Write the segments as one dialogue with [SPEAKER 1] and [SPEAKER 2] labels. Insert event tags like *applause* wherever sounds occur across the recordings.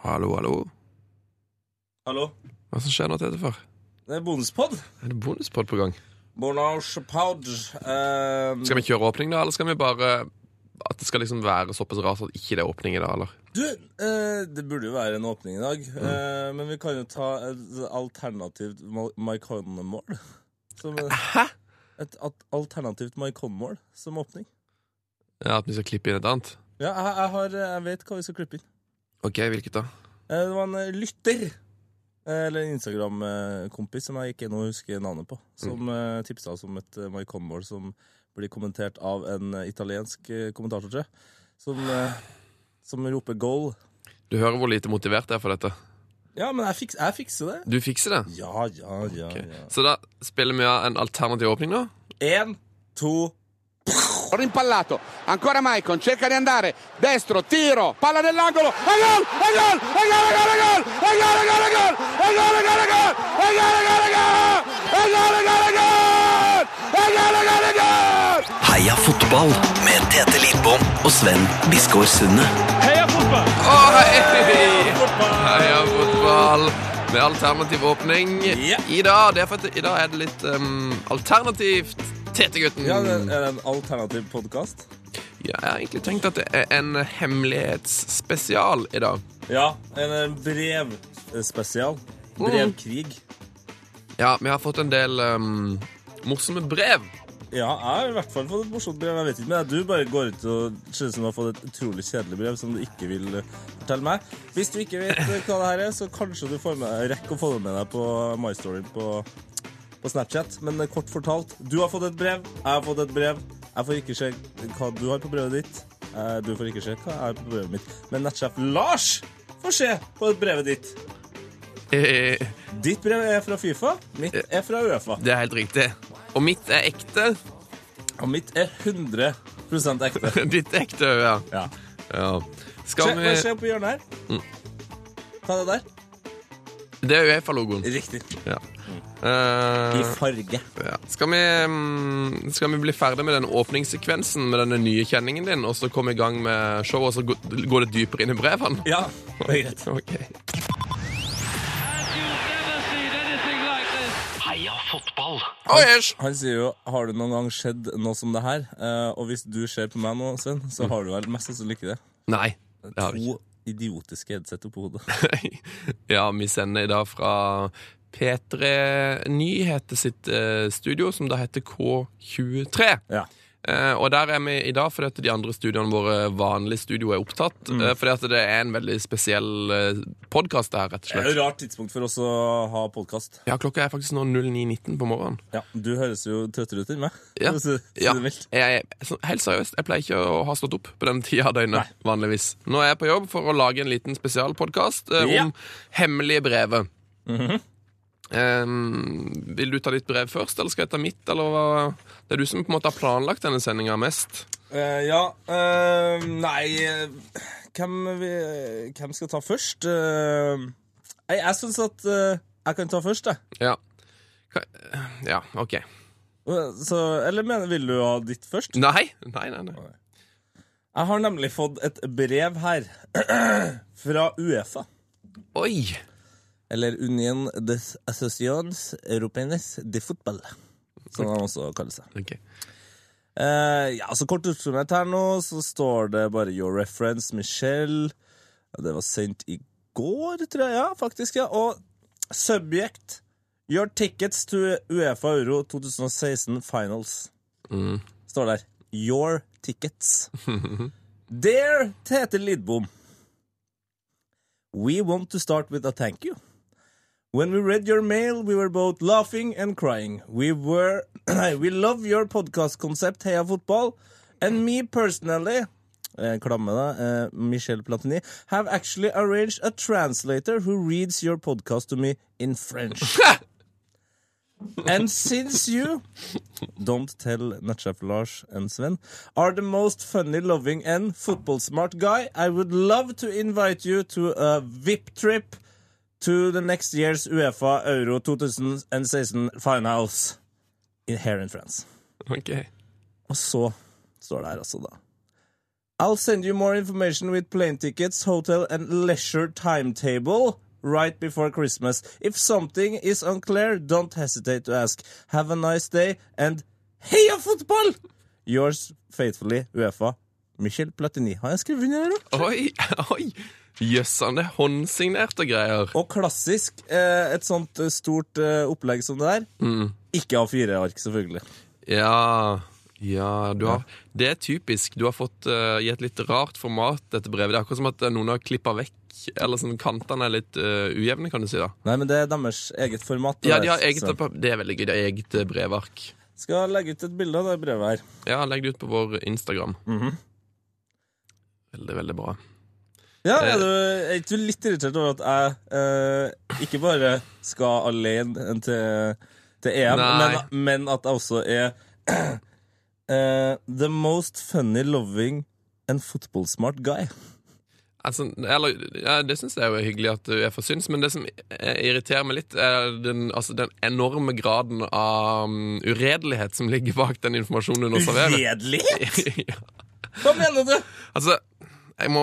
[SPEAKER 1] Hallo, hallo.
[SPEAKER 2] Hallo?
[SPEAKER 1] Hva som skjer nå, Tete? for?
[SPEAKER 2] Det er bonuspod.
[SPEAKER 1] Er det bonuspod på gang?
[SPEAKER 2] Bonuspod. Eh,
[SPEAKER 1] Skal vi kjøre åpning, da, eller skal vi bare At det skal liksom være såpass rart at ikke det er åpning i dag, eller?
[SPEAKER 2] du, eh, det burde jo være en åpning i dag, eh, men vi kan jo ta et alternativt Ma- Mycon-mål. Som,
[SPEAKER 1] Hæ?
[SPEAKER 2] et at- alternativt Mycon-mål som åpning.
[SPEAKER 1] Ja, At vi skal klippe inn et annet?
[SPEAKER 2] Ja, jeg, jeg, har, jeg vet hva vi skal klippe inn.
[SPEAKER 1] OK, hvilket da?
[SPEAKER 2] Eh, Det var en eh, lytter, eh, eller en Instagram-kompis som jeg ikke nå husker navnet på, som mm. tipsa oss om et eh, Maicon-mål som blir kommentert av en eh, italiensk eh, kommentator, tror jeg, som, eh, som roper 'goal'.
[SPEAKER 1] Du hører hvor lite motivert jeg er for dette.
[SPEAKER 2] Ja, men jeg, fiks, jeg fikser det.
[SPEAKER 1] Du fikser det.
[SPEAKER 2] Ja, ja, ja.
[SPEAKER 1] Ok.
[SPEAKER 2] ja.
[SPEAKER 1] Så da spiller vi av en alternativ åpning nå.
[SPEAKER 2] En, to
[SPEAKER 3] rimpallato, ancora Maicon, cerca di andare, destro, tiro, palla nell'angolo, e gol, e gol, e gol, e gol, e gol, e gol, e gol, e gol, e gol, e gol, e gol, e gol, e gol, e gol, e gol, e gol, e gol, e gol, e gol, e gol!
[SPEAKER 4] Heia fotball med Tete Lidbom og Sven Biskår Sunde.
[SPEAKER 1] Åh, hei! Heia fotball! Med alternativ åpning
[SPEAKER 2] Ja.
[SPEAKER 1] i dag. Det er for at i dag er det litt um, alternativt. Tetegutten.
[SPEAKER 2] Ja, det er en alternativ podkast.
[SPEAKER 1] Ja, jeg har egentlig tenkt at det er en hemmelighetsspesial i dag.
[SPEAKER 2] Ja, Mm. en eh, brevspesial. Brevkrig.
[SPEAKER 1] Ja, vi har fått en del um, morsomme brev. *laughs*
[SPEAKER 2] Ja, jeg har i hvert fall fått et morsomt brev. Jeg vet ikke, men Du bare går ut og ser ut som du har fått et utrolig kjedelig brev som du ikke vil eh, fortelle meg. Hvis du ikke vet eh, hva det her er, så kanskje du får med deg, rekker å få det med deg på MyStoryen på, på Snapchat. Men eh, kort fortalt, du har fått et brev, jeg har fått et brev. Jeg får ikke se hva du har på brevet ditt. Eh, Du får ikke se hva jeg har på brevet mitt. Men nettsjef Lars får se på brevet ditt.
[SPEAKER 1] Eh,
[SPEAKER 2] Ditt brev er fra Fifa, mitt er fra Uefa.
[SPEAKER 1] Det er helt riktig. Og mitt er ekte. *laughs*
[SPEAKER 2] Og mitt er 100
[SPEAKER 1] *laughs*
[SPEAKER 2] ekte.
[SPEAKER 1] Ditt er ekte, ja.
[SPEAKER 2] Ja.
[SPEAKER 1] ja.
[SPEAKER 2] Se,
[SPEAKER 1] Skal
[SPEAKER 2] hva
[SPEAKER 1] vi Mm.
[SPEAKER 2] skjer på hjørnet her? Ta det der.
[SPEAKER 1] Det er Uefa-logoen.
[SPEAKER 2] Riktig.
[SPEAKER 1] Ja. Eh,
[SPEAKER 2] I farge.
[SPEAKER 1] ja. Skal, vi, mm, skal vi bli ferdig med den åpningssekvensen med denne nye kjenningen din, og så komme i gang med showet, og så gå- går det dypere inn i brevene? *laughs*
[SPEAKER 2] Ja, det er greit.
[SPEAKER 1] Ok.
[SPEAKER 4] Heia fotball.
[SPEAKER 1] Oi, æsj!
[SPEAKER 2] Han sier jo 'Har det noen gang skjedd noe som det her?' Eh, og hvis du ser på meg nå, Sven, så har du vel mest sannsynlig ikke det.
[SPEAKER 1] Nei. Mm. Det har vi
[SPEAKER 2] To idiotiske headset oppå hodet.
[SPEAKER 1] ikke. *laughs* ja, vi sender i dag fra P3 Nyheter sitt eh, studio, som da heter K23.
[SPEAKER 2] Ja.
[SPEAKER 1] Eh, og der er vi i dag fordi at de andre studioene våre vanlige studio er opptatt. eh, fordi at det er en veldig spesiell eh, podkast her, rett og
[SPEAKER 2] Det er jo
[SPEAKER 1] slett.
[SPEAKER 2] et rart tidspunkt for oss å ha podkast.
[SPEAKER 1] Ja, klokka er faktisk nå 09.19 på morgenen.
[SPEAKER 2] Ja, du høres jo trøttere ut enn meg.
[SPEAKER 1] Ja.
[SPEAKER 2] for å si- si
[SPEAKER 1] Ja.
[SPEAKER 2] det mildt.
[SPEAKER 1] Jeg, så, helt seriøst, jeg pleier ikke å ha stått opp på den tida av døgnet vanligvis. Nå er jeg på jobb for å lage en liten spesialpodkast eh,
[SPEAKER 2] Ja.
[SPEAKER 1] om hemmelige brevet. Eh, vil du ta ditt brev først, eller skal jeg ta mitt? Eller hva? Det er du som på en måte har planlagt denne sendinga mest.
[SPEAKER 2] Eh, ja eh, Nei eh, hvem, vi, hvem skal ta først? Eh, nei, jeg syns at eh, jeg kan ta først, jeg.
[SPEAKER 1] Ja. Hva- ja, OK.
[SPEAKER 2] Så, eller mener, vil du ha ditt først?
[SPEAKER 1] Nei, nei, nei. nei.
[SPEAKER 2] Jeg har nemlig fått et brev her *clears throat* fra Uefa.
[SPEAKER 1] Oi!
[SPEAKER 2] Eller Union des Associations Europeines de Football, som han også kaller seg.
[SPEAKER 1] Ok.
[SPEAKER 2] Eh, ja, så Kort oppsummert her nå, så står det bare 'Your reference, Michelle'. Ja, det var sendt i går, tror jeg. Ja, faktisk. ja. Og subject 'Your tickets to Uefa Euro 2016 Finals' står der. 'Your tickets'. Dear Tete Lidbom. We want to start with a thank you. When we read your mail, we were both laughing and crying. We were *clears throat* we love your podcast concept Heia Fotball, and me personally eh, Klamme da, eh, Michel Platini Have actually arranged a translator Who reads your podcast to me in French And since you Don't tell Natchef Lars and Sven Are the most funny, loving and football smart guy I would love to invite you to a VIP trip to the next year's UEFA Euro 2016 finals in, here in France.
[SPEAKER 1] ok.
[SPEAKER 2] Og så står det her altså, da. I'll send you more information with plane tickets, hotel, and leisure timetable right before Christmas. If something is unclear, don't hesitate to ask. Have a nice day, and heia fotball! Yours faithfully, Uefa. Michel Platini. Har jeg skrevet under her, da?
[SPEAKER 1] Oi, *laughs* oi. Jøssende håndsignerte greier.
[SPEAKER 2] Og klassisk, eh, et sånt eh, stort eh, opplegg som det der.
[SPEAKER 1] Mm.
[SPEAKER 2] Ikke A4-ark, selvfølgelig.
[SPEAKER 1] Ja, ja du har, Det er typisk. Du har fått eh, i et litt rart format dette brevet. Det er akkurat som at eh, noen har klippa vekk, eller sånn kantene er litt eh, ujevne, kan du si. da
[SPEAKER 2] Nei, men det er deres eget format. det
[SPEAKER 1] Ja,
[SPEAKER 2] der,
[SPEAKER 1] de har eget,
[SPEAKER 2] så.
[SPEAKER 1] Det er veldig gøy. De har eget eh, brevark.
[SPEAKER 2] Skal legge ut et bilde av det brevet her.
[SPEAKER 1] Ja, legg det ut på vår Instagram. Veldig, veldig bra.
[SPEAKER 2] Ja, er du, er ikke du litt irritert over at jeg eh, ikke bare skal alene til, til EM, men,
[SPEAKER 1] Nei.
[SPEAKER 2] men at jeg også er *clears throat* eh, the most funny loving and football smart guy?
[SPEAKER 1] Altså, eller, ja, det syns jeg jo er hyggelig at Uefa syns, men det som eh, irriterer meg litt, er den, altså, den enorme graden av um, uredelighet som ligger bak den informasjonen du nå serverer. *laughs*
[SPEAKER 2] Uredelighet?
[SPEAKER 1] Ja.
[SPEAKER 2] Hva mener du?
[SPEAKER 1] altså, jeg må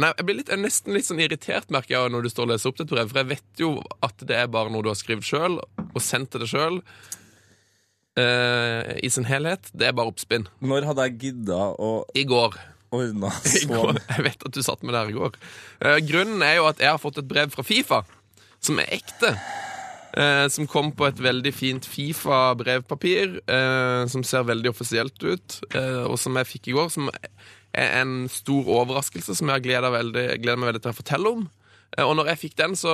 [SPEAKER 1] Nei, jeg blir litt, jeg er nesten litt sånn irritert, merker jeg, når du står og leser opp det, brev, for jeg vet jo at det er bare noe du har skrevet sjøl, og sendt til deg sjøl. eh, I sin helhet. Det er bare oppspinn.
[SPEAKER 2] Når hadde jeg gidda å
[SPEAKER 1] I går. *laughs*
[SPEAKER 2] ordne
[SPEAKER 1] I
[SPEAKER 2] sånn?
[SPEAKER 1] går. Jeg vet at du satt med det her i går. Eh, grunnen er jo at jeg har fått et brev fra Fifa, som er ekte. eh, som kom på et veldig fint Fifa-brevpapir, eh, som ser veldig offisielt ut, eh, og som jeg fikk i går, som er en stor overraskelse som jeg har gleda veldig- gleder meg veldig til å fortelle om. Eh, og når jeg fikk den, så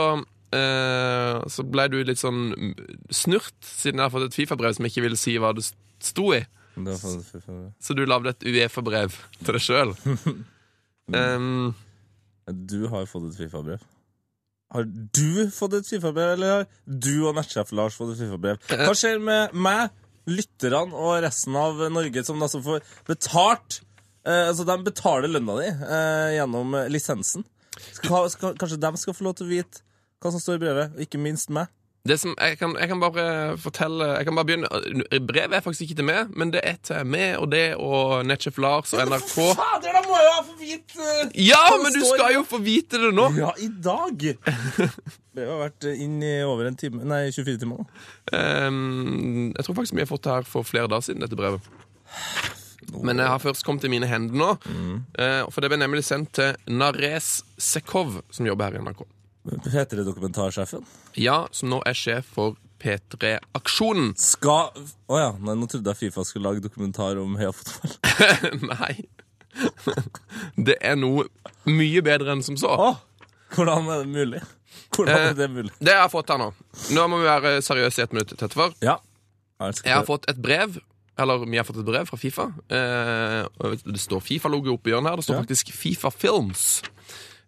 [SPEAKER 1] eh, så ble du litt sånn mm, snurt, siden jeg har fått et Fifa-brev som jeg ikke ville si hva det sto i.
[SPEAKER 2] Det var for-
[SPEAKER 1] Så du lagde et Uefa-brev til deg sjøl.
[SPEAKER 2] *laughs*
[SPEAKER 1] Um,
[SPEAKER 2] Du har fått et Fifa-brev. Har du fått et Fifa-brev, eller har du og nettsjef Lars fått et Fifa-brev? Hva skjer med meg, lytterne og resten av Norge, som altså får betalt eh, Altså, de betaler lønna di eh, gjennom eh, lisensen. Skal, skal, kanskje de skal få lov til å vite hva som står i brevet, og ikke minst meg.
[SPEAKER 1] det som, jeg, kan, jeg kan bare fortelle Jeg kan bare begynne eh, Brevet er faktisk ikke til meg, men det er til meg og det og Netchef Lars og NRK.
[SPEAKER 2] Fader, da må jeg ha fått vite eh,
[SPEAKER 1] Ja,
[SPEAKER 2] hva det
[SPEAKER 1] men du
[SPEAKER 2] står i
[SPEAKER 1] skal jo få vite det nå!
[SPEAKER 2] Ja, i dag! Det har vært eh, inn i over en time Nei, 24 timer nå.
[SPEAKER 1] Um, jeg tror faktisk vi har fått det her for flere dager siden, dette brevet. Men jeg har først kommet i mine hender nå.
[SPEAKER 2] Mm.
[SPEAKER 1] eh, For det ble nemlig sendt til Nares Sekov, som jobber her i NRK.
[SPEAKER 2] Heter det dokumentarsjefen?
[SPEAKER 1] Ja, som nå er sjef for P3-aksjonen.
[SPEAKER 2] Skal Å ja, nei, nå trodde jeg Fifa skulle lage dokumentar om Heia fotball.
[SPEAKER 1] *laughs* Nei. Det er noe mye bedre enn som så.
[SPEAKER 2] Å, Eh, hvordan er det mulig? Hvordan er det mulig?
[SPEAKER 1] Det har jeg fått her nå. Nå må vi være seriøse i et minutt. Tettefor.
[SPEAKER 2] Ja. Jeg skal
[SPEAKER 1] Jeg har fått et brev Eller vi har fått et brev fra Fifa. Eh, og det står Fifa-logo oppe i hjørnet her. Det står
[SPEAKER 2] Ja.
[SPEAKER 1] faktisk Fifa Films.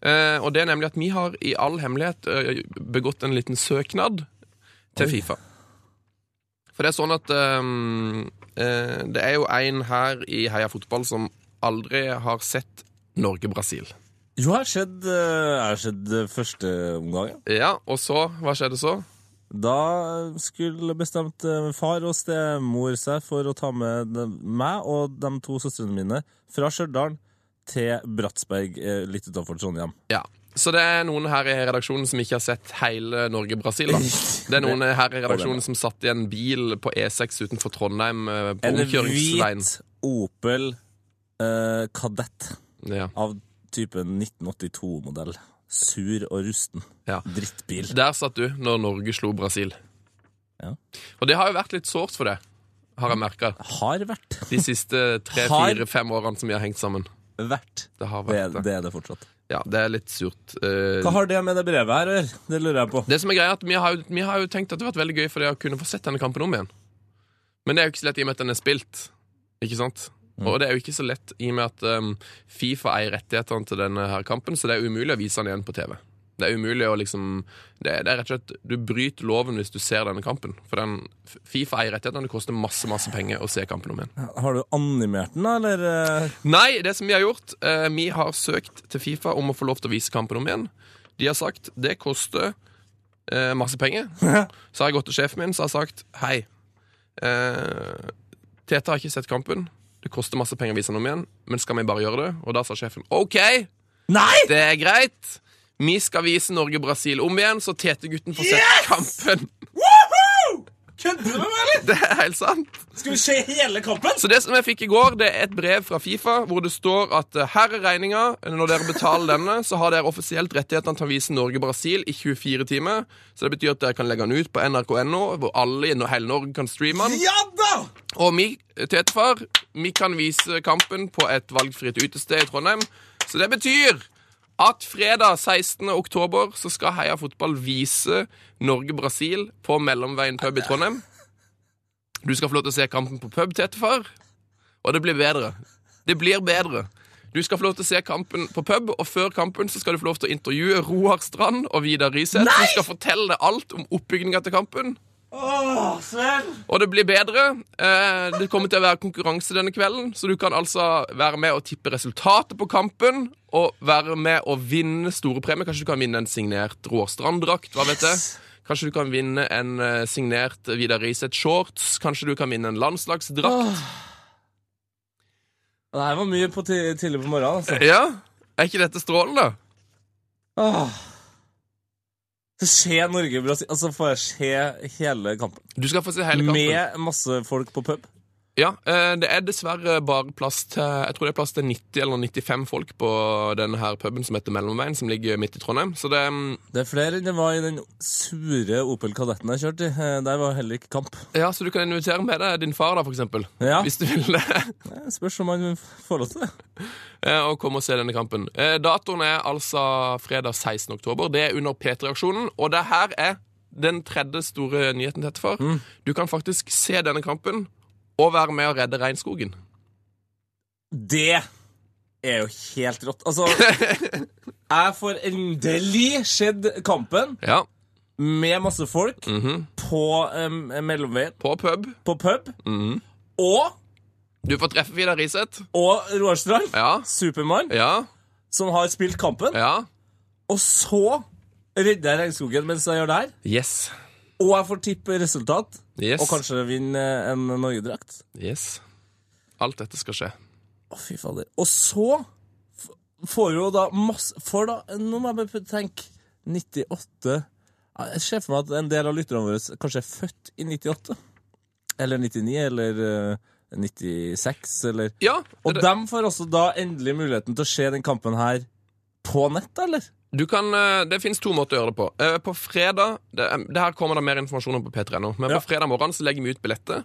[SPEAKER 1] Eh, og det er nemlig at vi har i all hemmelighet eh, begått en liten søknad til Fifa. For det er sånn at eh, eh, Det er jo en her i Heia Fotball som aldri har sett Norge-Brasil.
[SPEAKER 2] Jo, jeg har sett, eh, jeg har sett eh, første omgang. ja.
[SPEAKER 1] Ja, og så Hva skjedde så?
[SPEAKER 2] Da skulle bestemt eh, far og stemor seg for å ta med den- meg og de to søstrene mine fra Stjørdal til Bratsberg, eh, litt utafor Trondheim.
[SPEAKER 1] Ja. Så det er noen her i redaksjonen som ikke har sett hele Norge-Brasil.
[SPEAKER 2] *laughs*
[SPEAKER 1] da. Det er noen her i redaksjonen som satt i en bil på E6 utenfor Trondheim eh, på
[SPEAKER 2] En
[SPEAKER 1] omkjøringsveien.
[SPEAKER 2] hvit Opel eh, Kadett.
[SPEAKER 1] Ja.
[SPEAKER 2] av typen 1982-modell. Sur og rusten.
[SPEAKER 1] Ja.
[SPEAKER 2] Drittbil.
[SPEAKER 1] Der satt du når Norge slo Brasil.
[SPEAKER 2] Ja.
[SPEAKER 1] Og det har jo vært litt sårt for deg, har jeg merka,
[SPEAKER 2] Har vært.
[SPEAKER 1] de siste
[SPEAKER 2] Har-
[SPEAKER 1] tre-fire-fem årene som vi har hengt sammen.
[SPEAKER 2] Vært.
[SPEAKER 1] Det har
[SPEAKER 2] Det,
[SPEAKER 1] vært det.
[SPEAKER 2] det er det fortsatt.
[SPEAKER 1] Ja, det er litt surt. Eh,
[SPEAKER 2] Hva har det med det brevet her å gjøre? Det lurer jeg på.
[SPEAKER 1] Det som er greia er at vi har, jo- vi har jo tenkt at det har vært veldig gøy for deg å kunne få sett denne kampen om igjen. Men det er jo ikke så lett i og med at den er spilt. Ikke sant? Og det er jo ikke så lett i og med at um, Fifa eier rettighetene til denne her kampen, så det er umulig å vise den igjen på TV. Det er umulig å liksom det, det er rett og slett Du bryter loven hvis du ser denne kampen. For den, Fifa eier rettighetene. Det koster masse, masse penger å se kampen om igjen.
[SPEAKER 2] Har du animert den, da, eller? eh?
[SPEAKER 1] Nei, det som vi har gjort eh, Vi har søkt til Fifa om å få lov til å vise kampen om igjen De har sagt Det koster eh, masse penger Så har jeg gått til sjefen min Så har jeg sagt Hei eh, Tete har ikke sett kampen Det koster masse penger å vise den om igjen, men skal vi bare gjøre det? Og da sa sjefen OK,
[SPEAKER 2] Nei!
[SPEAKER 1] det er greit. Vi skal vise Norge-Brasil om igjen, så Tete-gutten får sett
[SPEAKER 2] Yes!
[SPEAKER 1] kampen. *laughs*
[SPEAKER 2] Woohoo! Kødder du med meg, eller?
[SPEAKER 1] Det er helt sant.
[SPEAKER 2] Skal vi se hele kampen?
[SPEAKER 1] Så det som jeg fikk i går, det er et brev fra Fifa hvor det står at eh, her er regninga. Når dere betaler denne, så har dere offisielt rettighetene til å vise Norge-Brasil i 24 timer. Så det betyr at dere kan legge den ut på nrk.no, hvor alle i hele Norge kan streame den.
[SPEAKER 2] Ja da!
[SPEAKER 1] Og vi, tetefar, vi kan vise kampen på et valgfritt utested i Trondheim. Så det betyr at fredag 16. oktober så skal Heia Fotball vise Norge-Brasil på Mellomveien pub i Trondheim. Du skal få lov til å se kampen på pub, tetefar. Og det blir bedre. Det blir bedre. Du skal få lov til å se kampen på pub, og før kampen så skal du få lov til å intervjue Roar Strand og Vidar Riseth, som skal fortelle deg alt om oppbygninga til kampen.
[SPEAKER 2] Åh, Sven!
[SPEAKER 1] Og det blir bedre. Eh, Det kommer til å være konkurranse denne kvelden, så du kan altså være med og tippe resultatet på kampen. Og være med og vinne store premier. Kanskje du kan vinne en signert Roar Strand-drakt. hva vet jeg? Kanskje du kan vinne en eh, signert Vidar Riseth-shorts. Kanskje du kan vinne en landslagsdrakt.
[SPEAKER 2] Det her var mye på ti- tidlig på morgenen, altså.
[SPEAKER 1] Ja, Er ikke dette strålende?
[SPEAKER 2] Åh. Så se Norge-Brasil Altså, får jeg se hele kampen?
[SPEAKER 1] Du skal få se hele kampen.
[SPEAKER 2] Med masse folk på pub?
[SPEAKER 1] Ja, eh, Det er dessverre bare plass til Jeg tror det er plass til 90 eller 95 folk på denne her puben som heter Mellomveien, som ligger midt i Trondheim. Så det mm,
[SPEAKER 2] Det er flere enn det var i den sure Opel Kadetten jeg kjørte i. Eh, Der var heller ikke kamp.
[SPEAKER 1] Ja, så du kan invitere med deg din far, da, for eksempel.
[SPEAKER 2] Ja,
[SPEAKER 1] Hvis du vil det. *laughs*
[SPEAKER 2] det Spørs om man får lov til det.
[SPEAKER 1] Eh, Og komme og se denne kampen. Eh, Datoen er altså fredag 16. oktober. Det er under P3-aksjonen, og det her er den tredje store nyheten til dette for. Du kan faktisk se denne kampen og være med og redde regnskogen.
[SPEAKER 2] Det er jo helt rått.
[SPEAKER 1] *laughs*
[SPEAKER 2] Altså, jeg får endelig sett kampen
[SPEAKER 1] Ja,
[SPEAKER 2] med masse folk
[SPEAKER 1] Mhm.
[SPEAKER 2] på em, mellomveien,
[SPEAKER 1] på pub.
[SPEAKER 2] på pub,
[SPEAKER 1] Mhm.
[SPEAKER 2] og,
[SPEAKER 1] Du får treffe Vidar Riseth.
[SPEAKER 2] og Roar Strand,
[SPEAKER 1] Ja.
[SPEAKER 2] Supermann,
[SPEAKER 1] Ja.
[SPEAKER 2] som har spilt kampen,
[SPEAKER 1] Ja.
[SPEAKER 2] og så redder jeg regnskogen mens jeg gjør det her,
[SPEAKER 1] Yes.
[SPEAKER 2] og jeg får tippe resultat,
[SPEAKER 1] Yes.
[SPEAKER 2] og kanskje vinne eh, en Norgedrakt.
[SPEAKER 1] Yes. Alt dette skal skje.
[SPEAKER 2] Å, fy fader. Og så f- får jo da masse Får da Nå må jeg bare tenke 98 Ja, Jeg ser for meg at en del av lytterne våre kanskje er født i 98. Eller 99, eller eh, 96, eller
[SPEAKER 1] Ja.
[SPEAKER 2] Og
[SPEAKER 1] det-
[SPEAKER 2] dem får også da endelig muligheten til å se den kampen her på nett, eller?
[SPEAKER 1] Du kan, eh, det finnes to måter å gjøre det på. Eh, På fredag Det, det her kommer det mer informasjon om på p3.no. Men
[SPEAKER 2] Ja.
[SPEAKER 1] på fredag morgen så legger vi ut billettet.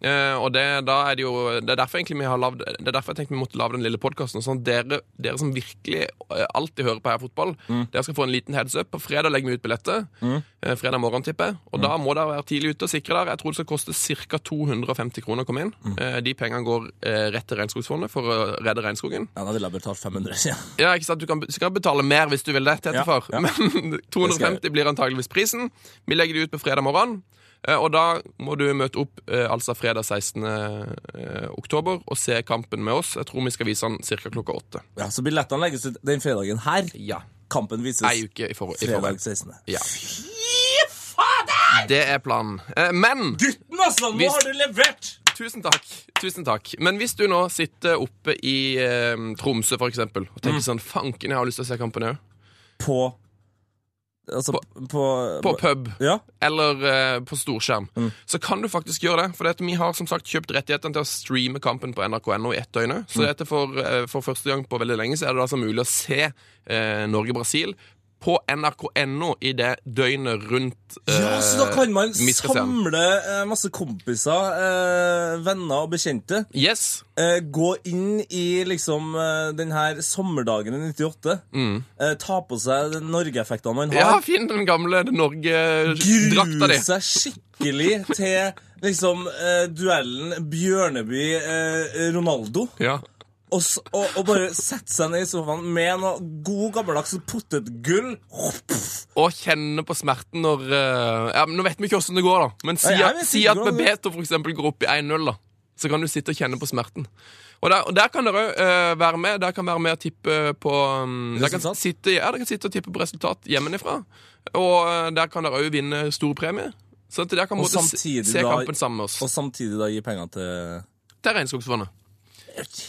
[SPEAKER 1] Eh, og det, da er det, jo, det er derfor egentlig vi har lavd, Det er derfor jeg tenkte vi måtte lage den lille podkasten. Sånn at dere, dere som virkelig eh, alltid hører på her fotball, dere skal få en liten heads up. På fredag legger vi ut billettet. Eh, fredag morgen, tipper jeg. Og da må dere være tidlig ute og sikre dere. Jeg tror det skal koste ca. 250 kroner å komme inn. Eh, de pengene går eh, rett til Regnskogsfondet for å redde regnskogen.
[SPEAKER 2] Ja, da ville jeg betalt 500. Ja.
[SPEAKER 1] Ja, ikke sant? Du kan, skal betale mer hvis du vil det,
[SPEAKER 2] Ja,
[SPEAKER 1] Tetefar. *laughs*
[SPEAKER 2] ja.
[SPEAKER 1] Men
[SPEAKER 2] Det skal
[SPEAKER 1] 250 blir antageligvis prisen. Vi legger det ut på fredag morgen. eh, Og da må du møte opp eh, altså fredag 16. eh, oktober og se kampen med oss. Jeg tror vi skal vise den ca. klokka åtte.
[SPEAKER 2] ja, Så billettene legges ut den fredagen her.
[SPEAKER 1] Ja.
[SPEAKER 2] Kampen vises
[SPEAKER 1] Ei uke i for- i
[SPEAKER 2] fredag
[SPEAKER 1] forveien.
[SPEAKER 2] 16.
[SPEAKER 1] Ja.
[SPEAKER 2] Fy fader!
[SPEAKER 1] Det er planen. Eh, Men
[SPEAKER 2] Gutten, altså! Nå
[SPEAKER 1] Hvis-
[SPEAKER 2] har du levert!
[SPEAKER 1] Tusen takk. Tusen takk. Men hvis du nå sitter oppe i eh, Tromsø, for eksempel, og tenker
[SPEAKER 2] Mm.
[SPEAKER 1] sånn Fanken, jeg har lyst til å se kampen òg.
[SPEAKER 2] på Altså på, på,
[SPEAKER 1] På pub.
[SPEAKER 2] Ja.
[SPEAKER 1] eller eh, på storskjerm,
[SPEAKER 2] Mm.
[SPEAKER 1] så kan du faktisk gjøre det. For det at vi har som sagt kjøpt rettighetene til å streame kampen på nrk.no i ett døgn. Så
[SPEAKER 2] Mm.
[SPEAKER 1] dette for, eh, for første gang på veldig lenge så er det altså mulig å se eh, Norge-Brasil på nrk.no i det døgnet rundt eh,
[SPEAKER 2] ja, så da kan man
[SPEAKER 1] vi skal se den.
[SPEAKER 2] samle eh, masse kompiser, eh, venner og bekjente.
[SPEAKER 1] Yes.
[SPEAKER 2] Eh, gå inn i liksom eh, den her sommerdagen i 98. Eh, ta på seg den Norge-effektene man
[SPEAKER 1] Mm. Ja,
[SPEAKER 2] har.
[SPEAKER 1] finn den gamle Norge-drakta
[SPEAKER 2] Grue
[SPEAKER 1] di.
[SPEAKER 2] seg skikkelig til liksom eh, duellen Bjørneby-Ronaldo.
[SPEAKER 1] Ja.
[SPEAKER 2] og, s- og, og bare sette seg ned i sofaen med noe god, gammeldags potetgull.
[SPEAKER 1] Og kjenne på smerten når eh, ja, men Nå vet vi ikke åssen det går, da. Men si,
[SPEAKER 2] Nei, jeg
[SPEAKER 1] at-
[SPEAKER 2] vet
[SPEAKER 1] si
[SPEAKER 2] ikke
[SPEAKER 1] at
[SPEAKER 2] hvordan det-
[SPEAKER 1] Bebeto for eksempel går opp i 1-0, da. Så kan du sitte og kjenne på smerten. Og der, og der kan dere òg være med. Dere kan være med og tippe på um, dere, kan
[SPEAKER 2] Resultat?
[SPEAKER 1] sitte, ja, dere kan sitte og tippe på resultat hjemmefra. Og eh, der kan dere òg vinne stor premie. Så at dere kan
[SPEAKER 2] Og
[SPEAKER 1] måtte se,
[SPEAKER 2] samtidig
[SPEAKER 1] se
[SPEAKER 2] da-
[SPEAKER 1] kampen sammen med oss.
[SPEAKER 2] Og samtidig da gi penger til
[SPEAKER 1] Til Regnskogsfondet.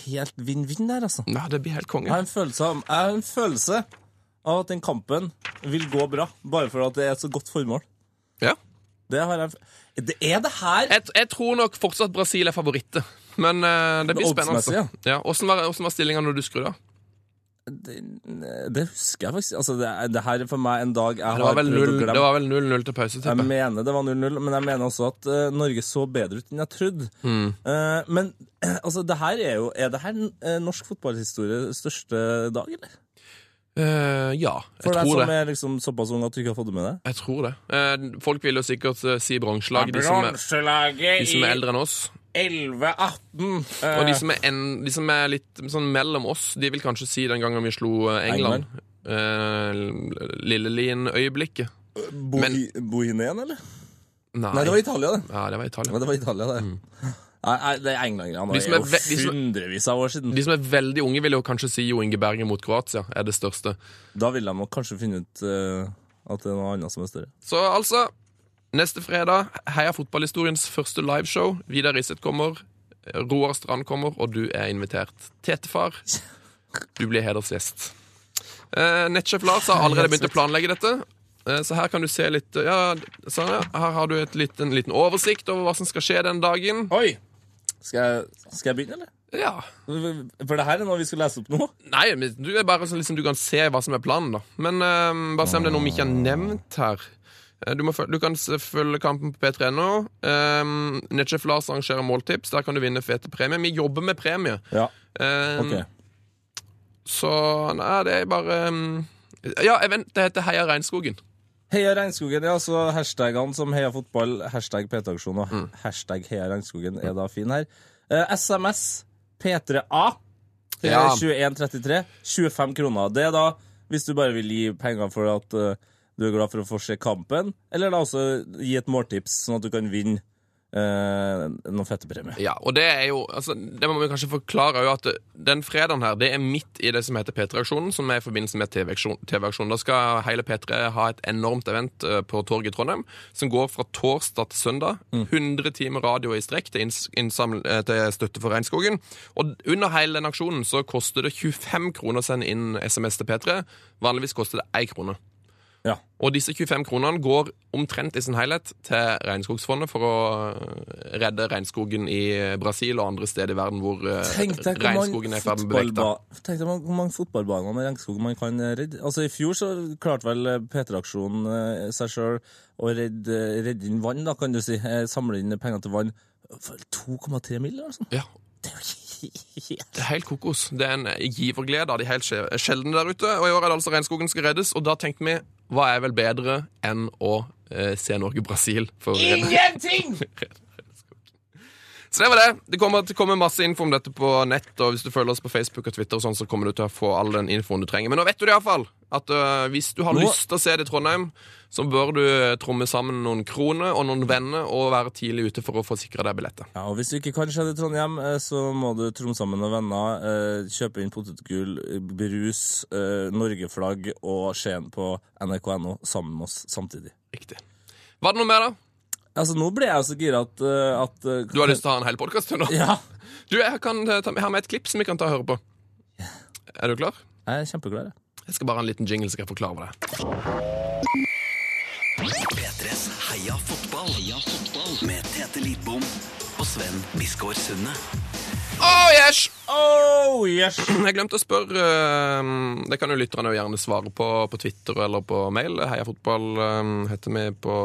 [SPEAKER 2] helt vinn-vinn der, altså.
[SPEAKER 1] Nei, det blir helt konge.
[SPEAKER 2] Jeg har en følelse av, jeg har en følelse av at den kampen vil gå bra, bare for at det er et så godt formål.
[SPEAKER 1] Ja.
[SPEAKER 2] Det har jeg... f- Det er det her!
[SPEAKER 1] Jeg, jeg tror nok fortsatt Brasil er favoritter. Men eh, det blir
[SPEAKER 2] Det er
[SPEAKER 1] spennende.
[SPEAKER 2] oddsmessig,
[SPEAKER 1] altså. Ja, Hvordan var, hvordan var stillinga når du skrudde av?
[SPEAKER 2] Det, det husker jeg faktisk. Altså, det, er- det her er for meg en dag jeg
[SPEAKER 1] Det var
[SPEAKER 2] har
[SPEAKER 1] vel
[SPEAKER 2] prøvd å
[SPEAKER 1] null- det
[SPEAKER 2] glemme.
[SPEAKER 1] var vel 0-0 til pause,
[SPEAKER 2] Jeg
[SPEAKER 1] tipper jeg.
[SPEAKER 2] mener det var 0-0, men jeg mener også at eh, Norge så bedre ut enn jeg trodde.
[SPEAKER 1] Mm.
[SPEAKER 2] Eh, men *clears throat* eh, altså, det her er jo Er det her eh, norsk fotballhistories største dag, eller?
[SPEAKER 1] Eh, ja, jeg
[SPEAKER 2] For deg
[SPEAKER 1] tror
[SPEAKER 2] som
[SPEAKER 1] det.
[SPEAKER 2] er liksom såpass ung at du ikke har fått det med deg?
[SPEAKER 1] Jeg tror det. Eh, folk vil jo sikkert eh, si bronselag, de, som er- de som er eldre enn oss.
[SPEAKER 2] 11-18.
[SPEAKER 1] Og
[SPEAKER 2] Eh.
[SPEAKER 1] de som er, en, de som er litt sånn mellom oss, de vil kanskje si den gangen vi slo eh, England. Eh, Lillelien-øyeblikket.
[SPEAKER 2] Bohi, Bohinien, eller?
[SPEAKER 1] Nei.
[SPEAKER 2] Nei, det var Italia, det.
[SPEAKER 1] ja, det var Italia.
[SPEAKER 2] Men det var Italia, det. Nei, nei, det er England-greiene.
[SPEAKER 1] De
[SPEAKER 2] Det
[SPEAKER 1] som
[SPEAKER 2] er
[SPEAKER 1] er ve- de
[SPEAKER 2] jo
[SPEAKER 1] som-
[SPEAKER 2] hundrevis av år siden.
[SPEAKER 1] De som er veldig unge, vil jo kanskje si Jo Inge Bergen mot Kroatia er det største.
[SPEAKER 2] Da ville de nok kanskje finne ut eh, at det er noe annet som er større.
[SPEAKER 1] Så altså, neste fredag, Heia fotballhistoriens første liveshow. Vidar Risset kommer, Roar Strand kommer, og du er invitert. Tetefar, du blir hedersgjest. Eh, Nettsjef Lars har allerede begynt å planlegge dette. Eh, Så her kan du se litt ja, sånn, ja. Her har du et litt, en liten oversikt over hva som skal skje den dagen.
[SPEAKER 2] Oi! Skal jeg, skal jeg begynne, eller?
[SPEAKER 1] Ja.
[SPEAKER 2] For det her er noe vi skal lese opp nå.
[SPEAKER 1] Nei, men du er bare sånn liksom, du kan se hva som er planen, da. Men eh, bare se om det er noe vi ikke har nevnt her. Eh, Du, må, føl- du kan s- følge kampen på p3.no. Um, Netchef Lars arrangerer måltips. Der kan du vinne fete premier. Vi jobber med premie.
[SPEAKER 2] Ja,
[SPEAKER 1] Eh,
[SPEAKER 2] ok.
[SPEAKER 1] Så nei, det er bare um, Ja, event, det heter Heia Regnskogen.
[SPEAKER 2] Heia regnskogen, ja, så hashtagene som heia fotball, hashtag PT-aksjon og hashtag heia regnskogen er da fin her. Eh, SMS P3A til
[SPEAKER 1] Ja.
[SPEAKER 2] 2133, 25 kroner. Det er da hvis du bare vil gi penger for at eh, du er glad for å få se kampen, eller da også gi et måltips sånn at du kan vinne eh, noen fette premier.
[SPEAKER 1] Ja, og det er jo altså, Det må vi kanskje forklare jo at den fredagen her, det er midt i det som heter P3-aksjonen, som er i forbindelse med TV-aksjon- TV-aksjonen. Da skal hele P3 ha et enormt event eh, på torget i Trondheim, som går fra torsdag til søndag. 100 timer radio i strekk til, inns- innsaml- eh, til støtte for regnskogen. Og under hele den aksjonen så koster det 25 kroner å sende inn SMS til P3. Vanligvis koster det 1 krone.
[SPEAKER 2] Ja.
[SPEAKER 1] Og disse 25 kronene går omtrent i sin helhet til Regnskogsfondet for å øh, redde regnskogen i Brasil og andre steder i verden hvor øh,
[SPEAKER 2] Tenk deg hvor
[SPEAKER 1] regnskogen
[SPEAKER 2] mange,
[SPEAKER 1] er i ferd med å bevege seg.
[SPEAKER 2] fotballba- tenk deg hvor mange- hvor mange fotballbaner med regnskog man kan eh, redde. Altså I fjor så klarte vel eh, P3-aksjonen eh, seg sjøl å redde, eh, redde inn vann, da, kan du si. Eh, Samle inn penger til vann. For 2,3 mill., altså?
[SPEAKER 1] Ja,
[SPEAKER 2] Det er jo helt
[SPEAKER 1] det er helt kokos. Det er en giverglede av de helt skje- sjeldne der ute. Og i år er det altså regnskogen skal reddes, og da tenkte vi hva er vel bedre enn å eh, se Norge-Brasil for å redde *laughs*
[SPEAKER 2] Ingenting!
[SPEAKER 1] Så det var det. Det kommer til å komme masse info om dette på nett, og hvis du følger oss på Facebook og Twitter, og sånn, så kommer du til å få all den infoen du trenger. Men nå vet du det iallfall. At øh, hvis du har
[SPEAKER 2] Nå-
[SPEAKER 1] lyst til å se det i Trondheim, så bør du tromme sammen noen kroner og noen venner og være tidlig ute for å få sikra deg billetter.
[SPEAKER 2] Ja, og Hvis du ikke kan se det i Trondheim, eh, så må du tromme sammen noen venner, eh, kjøpe inn potetgull, eh, brus, eh, Norgeflagg og Skien på nrk.no sammen med oss samtidig.
[SPEAKER 1] Riktig. Var det noe mer, da?
[SPEAKER 2] Altså, Nå ble jeg så gira at, eh, at eh,
[SPEAKER 1] Du har lyst til å ha en hel podkast nå?
[SPEAKER 2] *laughs* Ja.
[SPEAKER 1] Du, jeg, kan eh, ta, jeg har med et klipp som vi kan ta og høre på. Er du klar?
[SPEAKER 2] Jeg er kjempeglad. jeg.
[SPEAKER 1] Jeg skal bare ha en liten jingle, så skal jeg forklare hva det. er.
[SPEAKER 4] P3s Heia fotball. Med Tete Lidbom og Sven Biskår Sunde.
[SPEAKER 1] Oh, yes! *clears throat*
[SPEAKER 2] Oh, yes!
[SPEAKER 1] Jeg glemte å spørre eh, Det kan jo lytterne jo gjerne svare på på Twitter eller på mail. Heia fotball eh, heter vi på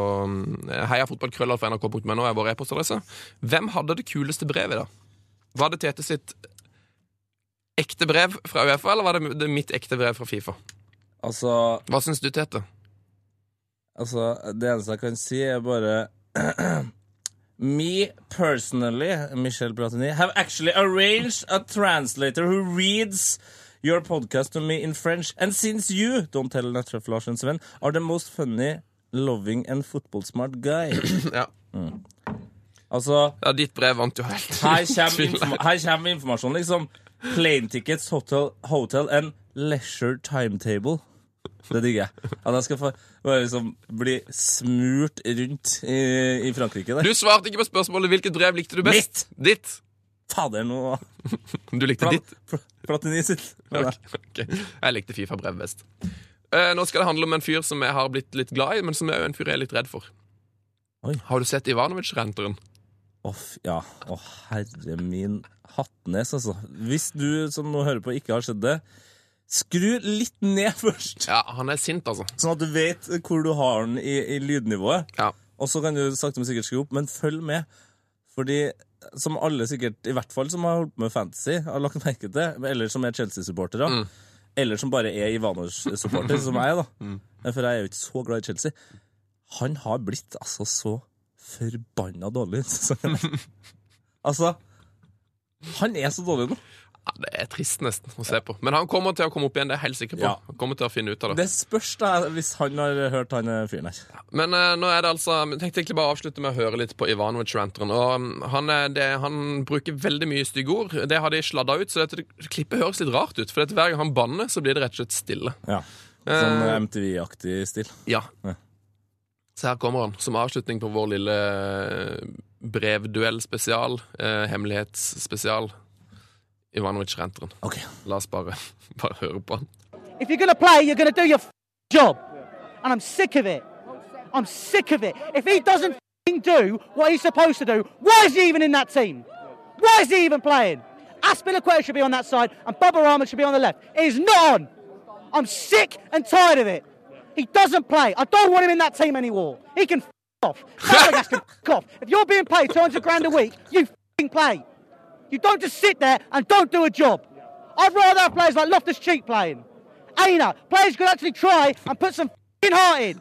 [SPEAKER 1] eh, heiafotballkrøllalfa.nrk.no er vår e-postadresse. Hvem hadde det kuleste brevet, da? Var det Tete sitt ekte brev fra Uefa, eller var det, det mitt ekte brev fra Fifa?
[SPEAKER 2] Altså,
[SPEAKER 1] Hva syns du, Tete?
[SPEAKER 2] altså, det eneste jeg kan si, er bare *clears throat* Me personally, Michel Platini, have actually arranged a translator who reads your podcast to me in French. And since you, don't tell Nettref Lars and Sven, are the most funny, loving and football smart guy. *clears throat*
[SPEAKER 1] Ja,
[SPEAKER 2] altså,
[SPEAKER 1] ja Ditt brev vant jo helt.
[SPEAKER 2] her
[SPEAKER 1] *laughs*
[SPEAKER 2] kommer, informa her kommer informasjon, liksom. Plane tickets, hotel, hotel and leisure timetable. Det digger jeg. At jeg skal få bare liksom bli smurt rundt i, i Frankrike der.
[SPEAKER 1] Du svarte ikke på spørsmålet hvilket brev likte du best. Ditt!
[SPEAKER 2] Fader, nå
[SPEAKER 1] Du likte
[SPEAKER 2] Pla-
[SPEAKER 1] ditt? *laughs*
[SPEAKER 2] pla- Platini sitt.
[SPEAKER 1] Ok, ok. Jeg likte Fifa-brev best. Eh, nå skal det handle om en fyr som jeg har blitt litt glad i, men som er jo en fyr jeg er litt redd for.
[SPEAKER 2] Oi.
[SPEAKER 1] Har du sett Ivanovic-renteren?
[SPEAKER 2] Off, ja. Å, herre min hattnes, altså. Hvis du som nå hører på, ikke har sett det, skru litt ned *laughs* først,
[SPEAKER 1] Ja, han er sint, altså.
[SPEAKER 2] sånn at du vet hvor du har den i, i lydnivået.
[SPEAKER 1] Ja.
[SPEAKER 2] Og så kan du sakte, men sikkert skru opp, men følg med. Fordi som alle sikkert, i hvert fall som har holdt på med fantasy, har lagt merke til, eller som er Chelsea-supportere, eller som bare er Ivanovic-supporter, som jeg er, da. For jeg er jo ikke så glad i Chelsea. Han har blitt altså så forbanna dårlig denne sesongen. *laughs* her. altså Han er så dårlig nå.
[SPEAKER 1] Ja, det er trist nesten å se på. Men han kommer til å komme opp igjen, det er jeg helt sikker på.
[SPEAKER 2] Ja.
[SPEAKER 1] Han kommer til å finne ut av det.
[SPEAKER 2] Det spørs da hvis han har hørt han eh, fyren her.
[SPEAKER 1] Men eh, nå er det altså Jeg tenkte egentlig bare å avslutte med å høre litt på Ivanovic-renteren. Og mm, han, er- det, han bruker veldig mye stygge ord. Det har de sladda ut, så dette klippet høres litt rart ut. For at hver gang han banner, så blir det rett og slett stille.
[SPEAKER 2] Ja. Sånn eh, MTV-aktig stil.
[SPEAKER 1] Ja.
[SPEAKER 2] Ja.
[SPEAKER 1] Så her kommer han, som avslutning på vår lille brevduell-spesial. Eh, hemmelighetsspesial. Ivanovic-renteren.
[SPEAKER 2] Ok.
[SPEAKER 1] La oss bare, *laughs* bare høre på han.
[SPEAKER 5] If you're going to play, you're going to do your f- job. And I'm sick of it. I'm sick of it. If he doesn't f***ing do what he's supposed to do, why is he even in that team? Why is he even playing? Aspilicueta should be on that side and Bubba Rahman should be on the left. He's not on. I'm sick and tired of it. He doesn't play. I don't want him in that team anymore. He can f- off. Fabregas *laughs* can f- off. If you're being paid 200 grand a week, you f***ing play. You don't just sit there and don't do a job. I'd rather have players like Loftus Cheek playing. Aina, players could actually try and put some fing heart in.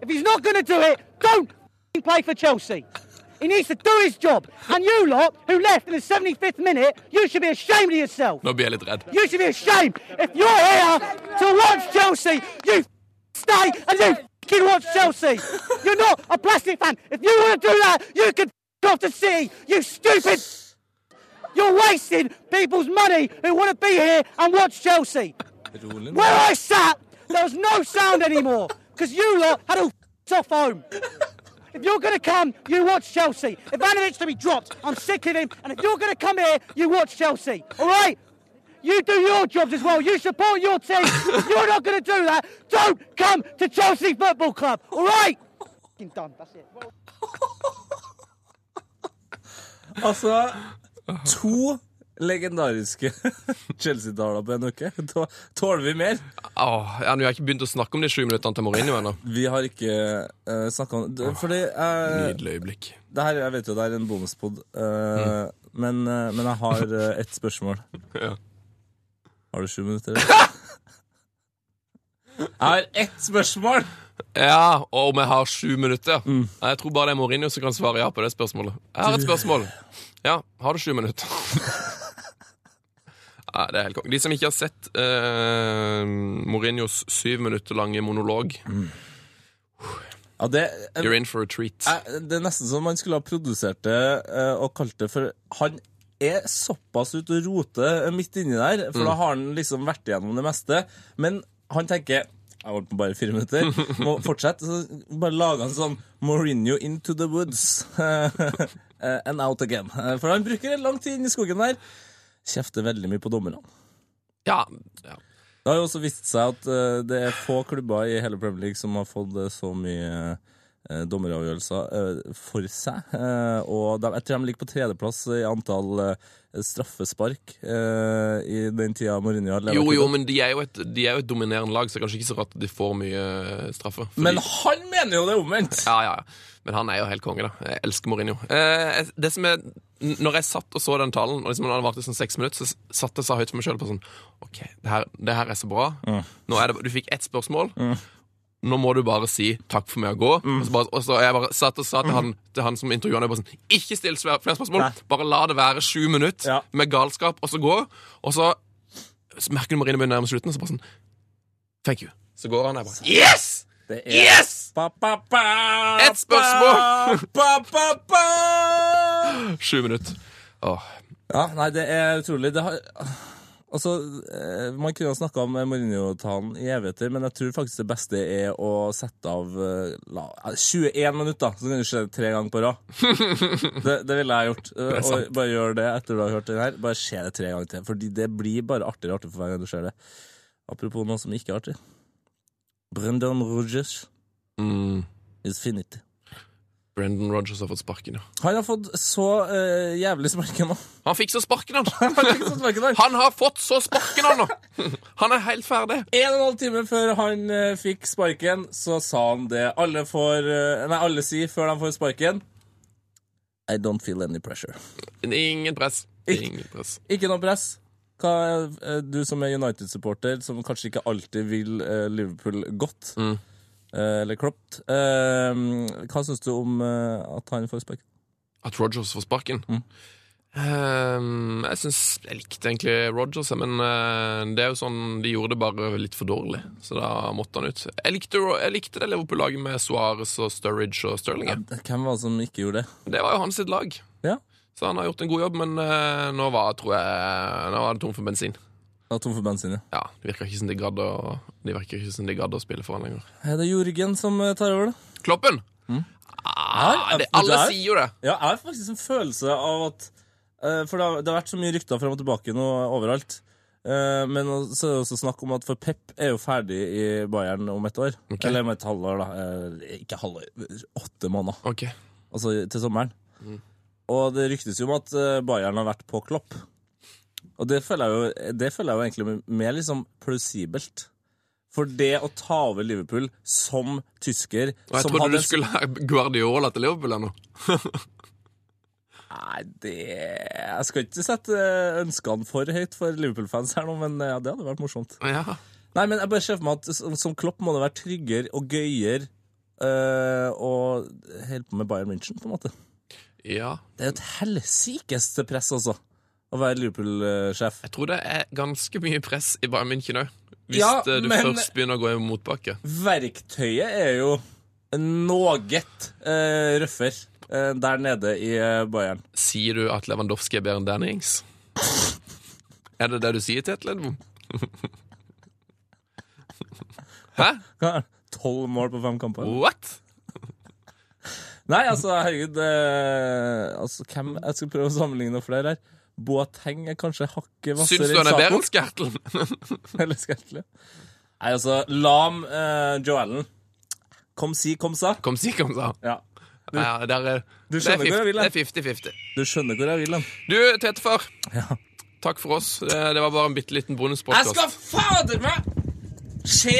[SPEAKER 5] If he's not going to do it, don't fing play for Chelsea. He needs to do his job. And you lot, who left in the 75th minute, you should be ashamed of yourself.
[SPEAKER 1] Nå blir jeg litt redd.
[SPEAKER 5] You should be ashamed. If you're here to watch Chelsea, you f- stay and you fucking watch Chelsea. You're not a plastic fan. If you want to do that, you can f- off to City. You stupid. You're wasting people's money who want to be here and watch Chelsea. Where I sat, there was no sound anymore because you lot had all f- off home. If you're going to come, you watch Chelsea. Ivanovic to be dropped. I'm sick of him. And if you're going to come here, you watch Chelsea. All right? You do your jobs as well. You support your team. if you're not going to do that, don't come to Chelsea Football Club. All right? Fucking done. That's it.
[SPEAKER 2] Altså, to legendariske *laughs* Chelsea-daler på en uke. Da Tåler vi mer?
[SPEAKER 1] Åh, ja, nå har jeg ikke begynt å snakke om de sju minuttene til Mourinho ennå.
[SPEAKER 2] Vi har ikke uh, snakka om det. Fordi eh,
[SPEAKER 1] Nydelig øyeblikk.
[SPEAKER 2] det her, Jeg vet jo det er en bonuspod, eh, men, eh, men jeg har eh, ett spørsmål.
[SPEAKER 1] Ja.
[SPEAKER 2] Har du sju minutter? eller? *laughs* Jeg har ett spørsmål!
[SPEAKER 1] Ja, og om jeg har sju minutter. Nei, Jeg tror bare det er Mourinho som kan svare ja på det spørsmålet. Jeg har et spørsmål. Ja, har du sju minutter? Nei, det er helt kong. De som ikke har sett eh, Mourinhos syv minutter lange monolog,
[SPEAKER 2] Ja, det,
[SPEAKER 1] you're in for a treat.
[SPEAKER 2] jeg, det er nesten som man skulle ha produsert det eh, og kalt det for Han er såpass ute og roter eh, midt inni der, for da har han liksom vært igjennom det meste. Men han tenker jeg holdt på bare fire minutter. Må fortsette. Så bare lager han sånn Mourinho into the woods. *laughs* Eh, And out again. Eh, For han bruker lang tid inni skogen der. Kjefter veldig mye på dommerne.
[SPEAKER 1] Ja, ja.
[SPEAKER 2] Det har jo også vist seg at eh, det er få klubber i hele Premier League som har fått eh, så mye eh, dommeravgjørelser eh, for seg. Eh, og de, jeg tror de ligger på tredjeplass i antall eh, straffespark eh, i den tida Mourinho har levd.
[SPEAKER 1] Jo, jo, men de er jo, et, de er jo et dominerende lag, så det er kanskje ikke så rart at de får mye eh, straffe. Fordi-
[SPEAKER 2] Men han mener jo det omvendt!
[SPEAKER 1] Ja, ja, ja. Men han er jo helt konge, da. Jeg elsker Mourinho. Eh, jeg- det som er, n- når jeg satt og så den talen, og liksom den varte i sånn seks minutter, så s- satt jeg så høyt for meg sjøl på sånn OK, det her, det her er så bra.
[SPEAKER 2] Mm.
[SPEAKER 1] Nå er det, du fikk ett spørsmål. Nå må du bare si 'takk for meg' og gå.
[SPEAKER 2] Mm.
[SPEAKER 1] Og, så bare, og så jeg bare satt og sa til han, til han som intervjuet meg, bare sånn Ikke still svæ- flere spørsmål!
[SPEAKER 2] Nei.
[SPEAKER 1] Bare la det være sju minutter
[SPEAKER 2] Ja.
[SPEAKER 1] med galskap, og så gå. Og så, så merker du Marine begynner nærmest slutten, og så bare sånn Thank you. Så går han der bare Yes!
[SPEAKER 2] Det er
[SPEAKER 1] Yes!
[SPEAKER 2] Pa, pa, pa,
[SPEAKER 1] Et spørsmål!
[SPEAKER 2] Pa, pa, pa, pa.
[SPEAKER 1] Sju minutter. Åh.
[SPEAKER 2] Ja, nei, det er utrolig. Det har, Altså, eh, Man kunne ha snakka om Mourinho-talen i evigheter, men jeg tror faktisk det beste er å sette av eh, la, eh, 21 minutter, så kan du se det tre ganger
[SPEAKER 1] *laughs*
[SPEAKER 2] på rad. Det, det ville jeg gjort. Eh,
[SPEAKER 1] sant.
[SPEAKER 2] Og bare gjør det etter du har hørt den her. Bare se det tre ganger til. Fordi det blir bare artigere og artigere for hver gang du ser det. Apropos noe som ikke er artig. Brendan Rogers
[SPEAKER 1] Mm.
[SPEAKER 2] is finite.
[SPEAKER 1] Brendan Rogers har fått sparken, ja.
[SPEAKER 2] Han har fått så eh, jævlig sparken nå. *laughs*
[SPEAKER 1] Han fikk så sparken,
[SPEAKER 2] Han har
[SPEAKER 1] han!
[SPEAKER 2] ikke fått sparken der.
[SPEAKER 1] Han har fått så sparken, han nå! Han er helt ferdig.
[SPEAKER 2] En og en halv time før han eh, fikk sparken, så sa han det alle får eh, Nei, alle sier før de får sparken I don't feel any pressure.
[SPEAKER 1] Ingen press. Ingen press.
[SPEAKER 2] Ikke noe press. Hva, eh, du som er United-supporter, som kanskje ikke alltid vil eh, Liverpool godt,
[SPEAKER 1] Mm.
[SPEAKER 2] eh, eller klopt, eh, hva syns du om eh, at han får sparken?
[SPEAKER 1] At Rogers får sparken? Ehm, jeg synes, jeg likte egentlig Rogers, men eh, det er jo sånn de gjorde det bare litt for dårlig. Så da måtte han ut. Jeg likte, Ro- jeg likte det Liverpool-laget med Suárez og Sturridge og Sterling. jeg.
[SPEAKER 2] Hvem var det som ikke gjorde det?
[SPEAKER 1] Det var jo hans sitt lag.
[SPEAKER 2] Ja.
[SPEAKER 1] Så han har gjort en god jobb, men eh, nå var tror jeg, nå var det tom for bensin.
[SPEAKER 2] Han var tom for bensin, ja.
[SPEAKER 1] Ja, Det virker ikke som de gadd å, de virker ikke som de gadd å spille for han lenger.
[SPEAKER 2] Er det Jorgen som eh, tar over, da?
[SPEAKER 1] Kloppen!
[SPEAKER 2] Mm.
[SPEAKER 1] Ah,
[SPEAKER 2] Her?
[SPEAKER 1] det,
[SPEAKER 2] Ja,
[SPEAKER 1] alle
[SPEAKER 2] der.
[SPEAKER 1] sier jo det.
[SPEAKER 2] Ja, jeg har faktisk en følelse av at eh, For det har, det har vært så mye rykter frem og tilbake nå overalt. Eh, men så er det også snakk om at for Pep er jo ferdig i Bayern om et år.
[SPEAKER 1] Ok.
[SPEAKER 2] Eller om et halvår, da. Eh, ikke halvår, åtte måneder.
[SPEAKER 1] Ok,
[SPEAKER 2] Altså til sommeren.
[SPEAKER 1] Mm.
[SPEAKER 2] Og det ryktes jo om at eh, Bayern har vært på Klopp. Og det føler jeg jo, det føler jeg jo egentlig mer liksom plausibelt. For det å ta over Liverpool som tysker
[SPEAKER 1] Og jeg
[SPEAKER 2] som
[SPEAKER 1] trodde
[SPEAKER 2] hadde
[SPEAKER 1] du
[SPEAKER 2] en-
[SPEAKER 1] skulle ha Guardiola til Liverpool ennå.
[SPEAKER 2] Nei, det Jeg skal ikke sette ønskene for høyt for Liverpool-fans her nå, men ja, det hadde vært morsomt.
[SPEAKER 1] Ja.
[SPEAKER 2] Nei, men jeg bare ser for meg at som, som Klopp må det være tryggere og gøyere øh, å holde på med Bayern München, på en måte.
[SPEAKER 1] ja.
[SPEAKER 2] Det er jo et helsikeste press, altså, å være Liverpool-sjef.
[SPEAKER 1] Jeg tror det er ganske mye press i Bayern München òg. Hvis
[SPEAKER 2] Ja,
[SPEAKER 1] eh, du
[SPEAKER 2] men-
[SPEAKER 1] først begynner å gå i motbakke.
[SPEAKER 2] Verktøyet er jo noe øh, røffere øh, der nede i øh, Bayern.
[SPEAKER 1] Sier du at Lewandowski er bedre enn Danny Ings? Er det det du sier til et Ledvo? Hæ?
[SPEAKER 2] Tolv mål på fem kamper.
[SPEAKER 1] What?
[SPEAKER 2] Nei, altså, herregud eh, altså, hvem, Jeg skal prøve å sammenligne noen flere her. Boateng er kanskje hakket
[SPEAKER 1] Syns
[SPEAKER 2] hvassere
[SPEAKER 1] du han
[SPEAKER 2] enn
[SPEAKER 1] er bedre
[SPEAKER 2] Sako.
[SPEAKER 1] enn Skertlen?
[SPEAKER 2] *laughs* Eller Skertli. Nei, altså, Lam eh, Joe Allen. Kom si, kom sa.
[SPEAKER 1] Kom, si, kom, sa han.
[SPEAKER 2] Ja.
[SPEAKER 1] Nei, ja, der er-
[SPEAKER 2] Du
[SPEAKER 1] Det er
[SPEAKER 2] skjønner hvor jeg vil hen.
[SPEAKER 1] 50-50.
[SPEAKER 2] Du skjønner hvor jeg vil hen.
[SPEAKER 1] Du, Tetefar.
[SPEAKER 2] Ja.
[SPEAKER 1] Takk for oss. Det, det var bare en bitte liten
[SPEAKER 2] Jeg
[SPEAKER 1] bonuspodkast.
[SPEAKER 2] skal fader meg se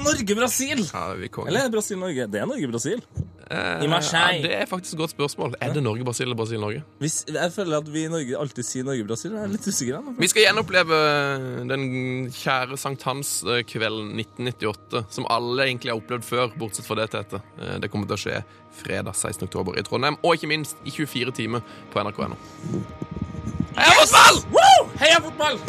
[SPEAKER 2] Norge-Brasil!
[SPEAKER 1] Ja, vi er konge.
[SPEAKER 2] Eller er det Brasil-Norge? Det er Norge-Brasil.
[SPEAKER 1] Eh,
[SPEAKER 2] i Marseille.
[SPEAKER 1] Ja, det er faktisk et godt spørsmål. Er det Norge-Brasil eller Brasil-Norge?
[SPEAKER 2] Hvis- Jeg føler at vi i Norge alltid sier Norge-Brasil. Jeg er litt usikker. her nå.
[SPEAKER 1] Vi skal gjenoppleve eh, den kjære sankthanskvelden 1998, som alle egentlig har opplevd før, bortsett fra det, Tete. Eh, Det kommer til å skje fredag 16. oktober i Trondheim, og ikke minst i 24 timer på NRK.no. Heia fotball! Heia fotball!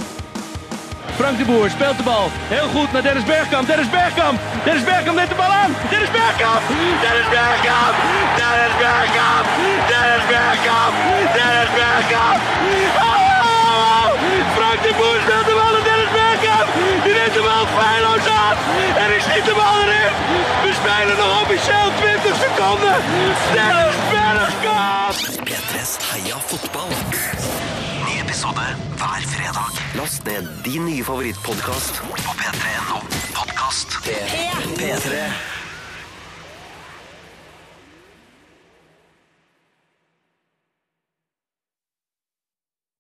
[SPEAKER 6] Frank de Boer speelt de bal. Heel goed naar Dennis Bergkamp. Dennis Bergkamp. Dennis Bergkamp neemt de bal aan. Dennis Bergkamp. Dennis Bergkamp. Dennis Bergkamp. Dennis Bergkamp. Dennis Bergkamp. Oh, oh, oh. Frank de Boer speelt de bal naar Dennis Bergkamp. Die neemt de bal feilloos aan. En ik schiet de bal erin. We spelen nog officieel 20 seconden. Dennis Bergkamp.
[SPEAKER 4] P3s Heia fotball. Ny episode hver fredag. Last ned din nye favorittpodkast på p3.no podkast. P3.